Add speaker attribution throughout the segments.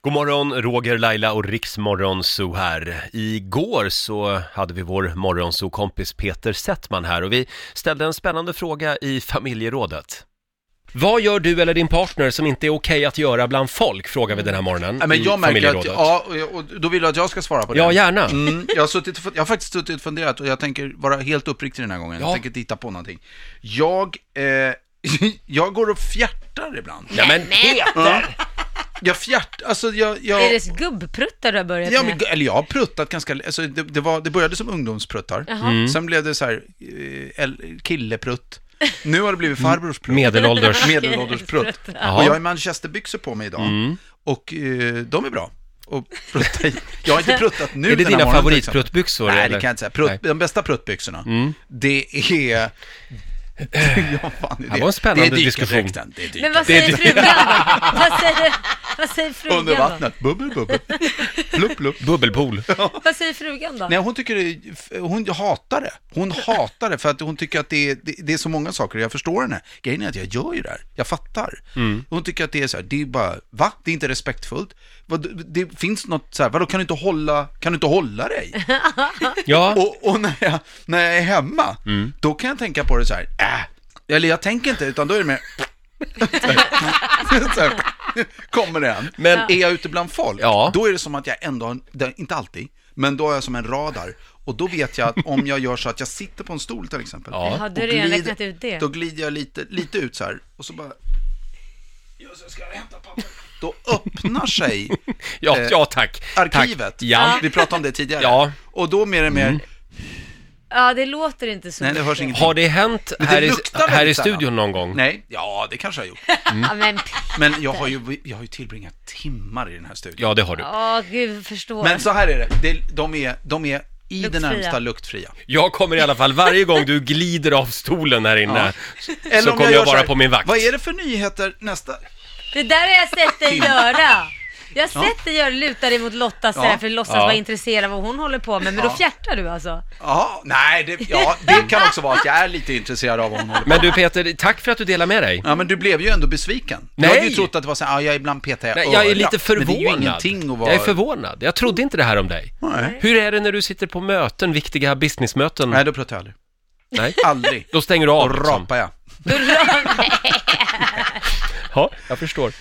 Speaker 1: God morgon, Roger, Laila och Riksmorgonzoo här. Igår så hade vi vår morgonzoo-kompis Peter Settman här och vi ställde en spännande fråga i familjerådet. Vad gör du eller din partner som inte är okej att göra bland folk? Frågar vi den här morgonen
Speaker 2: Nej, men
Speaker 1: i
Speaker 2: jag märker att,
Speaker 1: familjerådet.
Speaker 2: ja, och- och då vill du att jag ska svara på det.
Speaker 1: Ja, gärna.
Speaker 2: Mm, jag, har suttit, och fun- jag har faktiskt suttit och funderat och jag tänker vara helt uppriktig den här gången.
Speaker 1: Ja.
Speaker 2: Jag tänker inte hitta på någonting. Jag, eh, jag går och fjärtar ibland.
Speaker 1: Ja, men Peter!
Speaker 2: Jag fjärtar, alltså jag... jag
Speaker 3: Är det gubbpruttar du har börjat
Speaker 2: Ja,
Speaker 3: med?
Speaker 2: men, gu- eller jag har pruttat ganska, alltså det, det, var, det började som ungdomspruttar,
Speaker 1: Mm.
Speaker 2: sen blev det så här, eh, el- killeprutt, nu har det blivit farbrors prutt.
Speaker 1: Mm. Medelålders.
Speaker 2: Medelålders prutt.
Speaker 1: Jaha.
Speaker 2: Och jag har manchesterbyxor på mig idag.
Speaker 1: Mm.
Speaker 2: Och eh, de är bra. Och prutta i. Jag har inte pruttat nu
Speaker 1: Är det
Speaker 2: den här
Speaker 1: dina
Speaker 2: morgonen, till exempel.
Speaker 1: favoritpruttbyxor?
Speaker 2: Nej,
Speaker 1: eller?
Speaker 2: det kan jag inte säga.
Speaker 1: Nej. Mm.
Speaker 2: Prutt, de bästa pruttbyxorna, det är... ja, fan är det?
Speaker 1: var en spännande
Speaker 2: det är
Speaker 1: diskussion.
Speaker 2: dykardräkten, Det är
Speaker 3: Men
Speaker 2: dykardräkten.
Speaker 3: vad säger frugan då? Vad säger, vad säger frugan
Speaker 2: Under
Speaker 3: då?
Speaker 2: vattnet. Bubbel, bubbel. Plupp, plupp.
Speaker 1: Bubbelpool.
Speaker 3: Vad säger frugan då?
Speaker 2: Nej, hon tycker det, är- hon hatar det. Hon hatar det för att hon tycker att det är, det, det är så många saker och jag förstår henne. Grejen är att jag gör ju det här. Jag fattar. Hon tycker att det är så här, det är bara, va? Det är inte respektfullt. Vad, det finns något så här, vadå kan du inte hålla, kan du inte hålla dig?
Speaker 1: Ja,
Speaker 2: Och, och när, jag, när jag är hemma,
Speaker 1: Mm.
Speaker 2: då kan jag tänka på det så här, äh. Eller jag tänker inte, utan då är det mer... så här, kommer den.
Speaker 1: Men-
Speaker 2: Men är jag ute bland folk,
Speaker 1: Ja.
Speaker 2: då är det som att jag ändå, har en- det- inte alltid, men då är jag som en radar. Och då vet jag att om jag gör så att jag sitter på en stol till exempel.
Speaker 1: Ja.
Speaker 3: Har
Speaker 2: och
Speaker 3: du redan
Speaker 2: glider-
Speaker 3: räknat ut det?
Speaker 2: Då glider jag lite, lite ut så här, och så bara... Ja, så ska jag hämta papper. Då öppnar sig
Speaker 1: ja,
Speaker 2: eh,
Speaker 1: ja tack.
Speaker 2: arkivet.
Speaker 1: Tack. Ja.
Speaker 2: Vi pratade om det tidigare.
Speaker 1: Ja. Mm.
Speaker 2: Och då mer och mer,
Speaker 3: Ja, det låter inte så.
Speaker 2: nej det hörs ingenting.
Speaker 1: Har det hänt
Speaker 2: Men det
Speaker 1: här, i,
Speaker 2: luktar väldigt
Speaker 1: här i
Speaker 2: sällan.
Speaker 1: studion någon gång?
Speaker 2: Nej, ja det kanske jag har gjort.
Speaker 3: Ja, men
Speaker 2: Men jag har ju, jag har ju tillbringat timmar i den här studion.
Speaker 1: Ja, det har du.
Speaker 3: ja, gud, jag förstår.
Speaker 2: Men så här är det, det de, är, de är i det
Speaker 3: Luktfria.
Speaker 2: närmsta luktfria.
Speaker 1: Jag kommer i alla fall, varje gång du glider av stolen här inne, så kommer jag,
Speaker 2: gör så
Speaker 1: vara
Speaker 2: här,
Speaker 1: på min vakt.
Speaker 2: Vad är det för nyheter nästa?
Speaker 3: Det där har jag sett dig göra. Jag har
Speaker 2: Ja.
Speaker 3: sett dig göra, luta dig mot Lotta sådär
Speaker 2: Ja.
Speaker 3: för att låtsas
Speaker 1: Ja.
Speaker 3: vara intresserad av vad hon håller på med, men då
Speaker 2: Ja.
Speaker 3: fjärtar du alltså?
Speaker 2: Ja, nej, det, ja, det kan också vara att jag är lite intresserad av vad hon håller på med.
Speaker 1: Men du Peter, tack för att du delar med dig.
Speaker 2: Ja, men du blev ju ändå besviken.
Speaker 1: Nej.
Speaker 2: Du hade ju trott att det var så här, ja, jag ibland petar jag
Speaker 1: Nej, jag är
Speaker 2: öra.
Speaker 1: lite förvånad.
Speaker 2: Men det är ju ingenting att vara...
Speaker 1: Jag är förvånad. Jag trodde inte det här om dig.
Speaker 2: Nej.
Speaker 1: Hur är det när du sitter på möten, viktiga businessmöten?
Speaker 2: nej, då pratar jag aldrig.
Speaker 1: Nej.
Speaker 2: Aldrig.
Speaker 1: Då stänger du
Speaker 2: Då
Speaker 1: av liksom.
Speaker 2: rapar jag.
Speaker 1: Ja, jag förstår.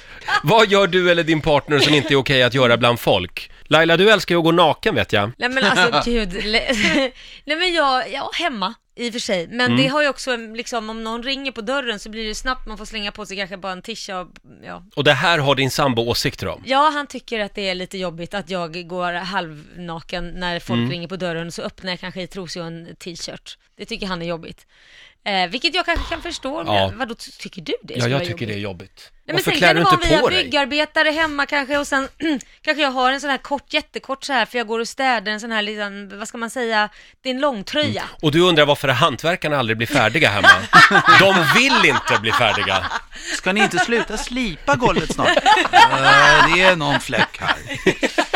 Speaker 1: Vad gör du eller din partner som inte är okej att göra bland folk? Laila, du älskar ju att gå naken vet jag.
Speaker 3: Nej men alltså gud, le- nej men jag, ja hemma i och för sig, men
Speaker 1: Mm.
Speaker 3: det har ju också en, liksom om någon ringer på dörren så blir det snabbt man får slänga på sig kanske bara en tisha och ja.
Speaker 1: Och det här har din sambo åsikter om.
Speaker 3: Ja han tycker att det är lite jobbigt att jag går halvnaken när folk
Speaker 1: Mm.
Speaker 3: ringer på dörren så öppnar jag kanske i trosor och en t-shirt. Det tycker han är jobbigt. Eh, vilket jag kanske kan förstå, men
Speaker 1: Ja.
Speaker 3: vadå ty- tycker du det?
Speaker 1: Ja,
Speaker 3: skulle
Speaker 1: jag
Speaker 3: vara
Speaker 1: tycker
Speaker 3: jobbigt?
Speaker 1: det är jobbigt.
Speaker 3: Nej, men
Speaker 1: Varför
Speaker 3: sen
Speaker 1: klär
Speaker 3: kan
Speaker 1: du
Speaker 3: det
Speaker 1: inte
Speaker 3: vara om vi
Speaker 1: på
Speaker 3: har
Speaker 1: dig?
Speaker 3: byggarbetare hemma kanske och sen kanske jag har en sån här kort, jättekort så här för jag går och städar en sån här liten, vad ska man säga, det är en långtröja.
Speaker 1: Och du undrar varför hantverkarna aldrig blir färdiga hemma? De vill inte bli färdiga.
Speaker 2: Ska ni inte sluta slipa golvet snart? Eh, det är någon fläck här.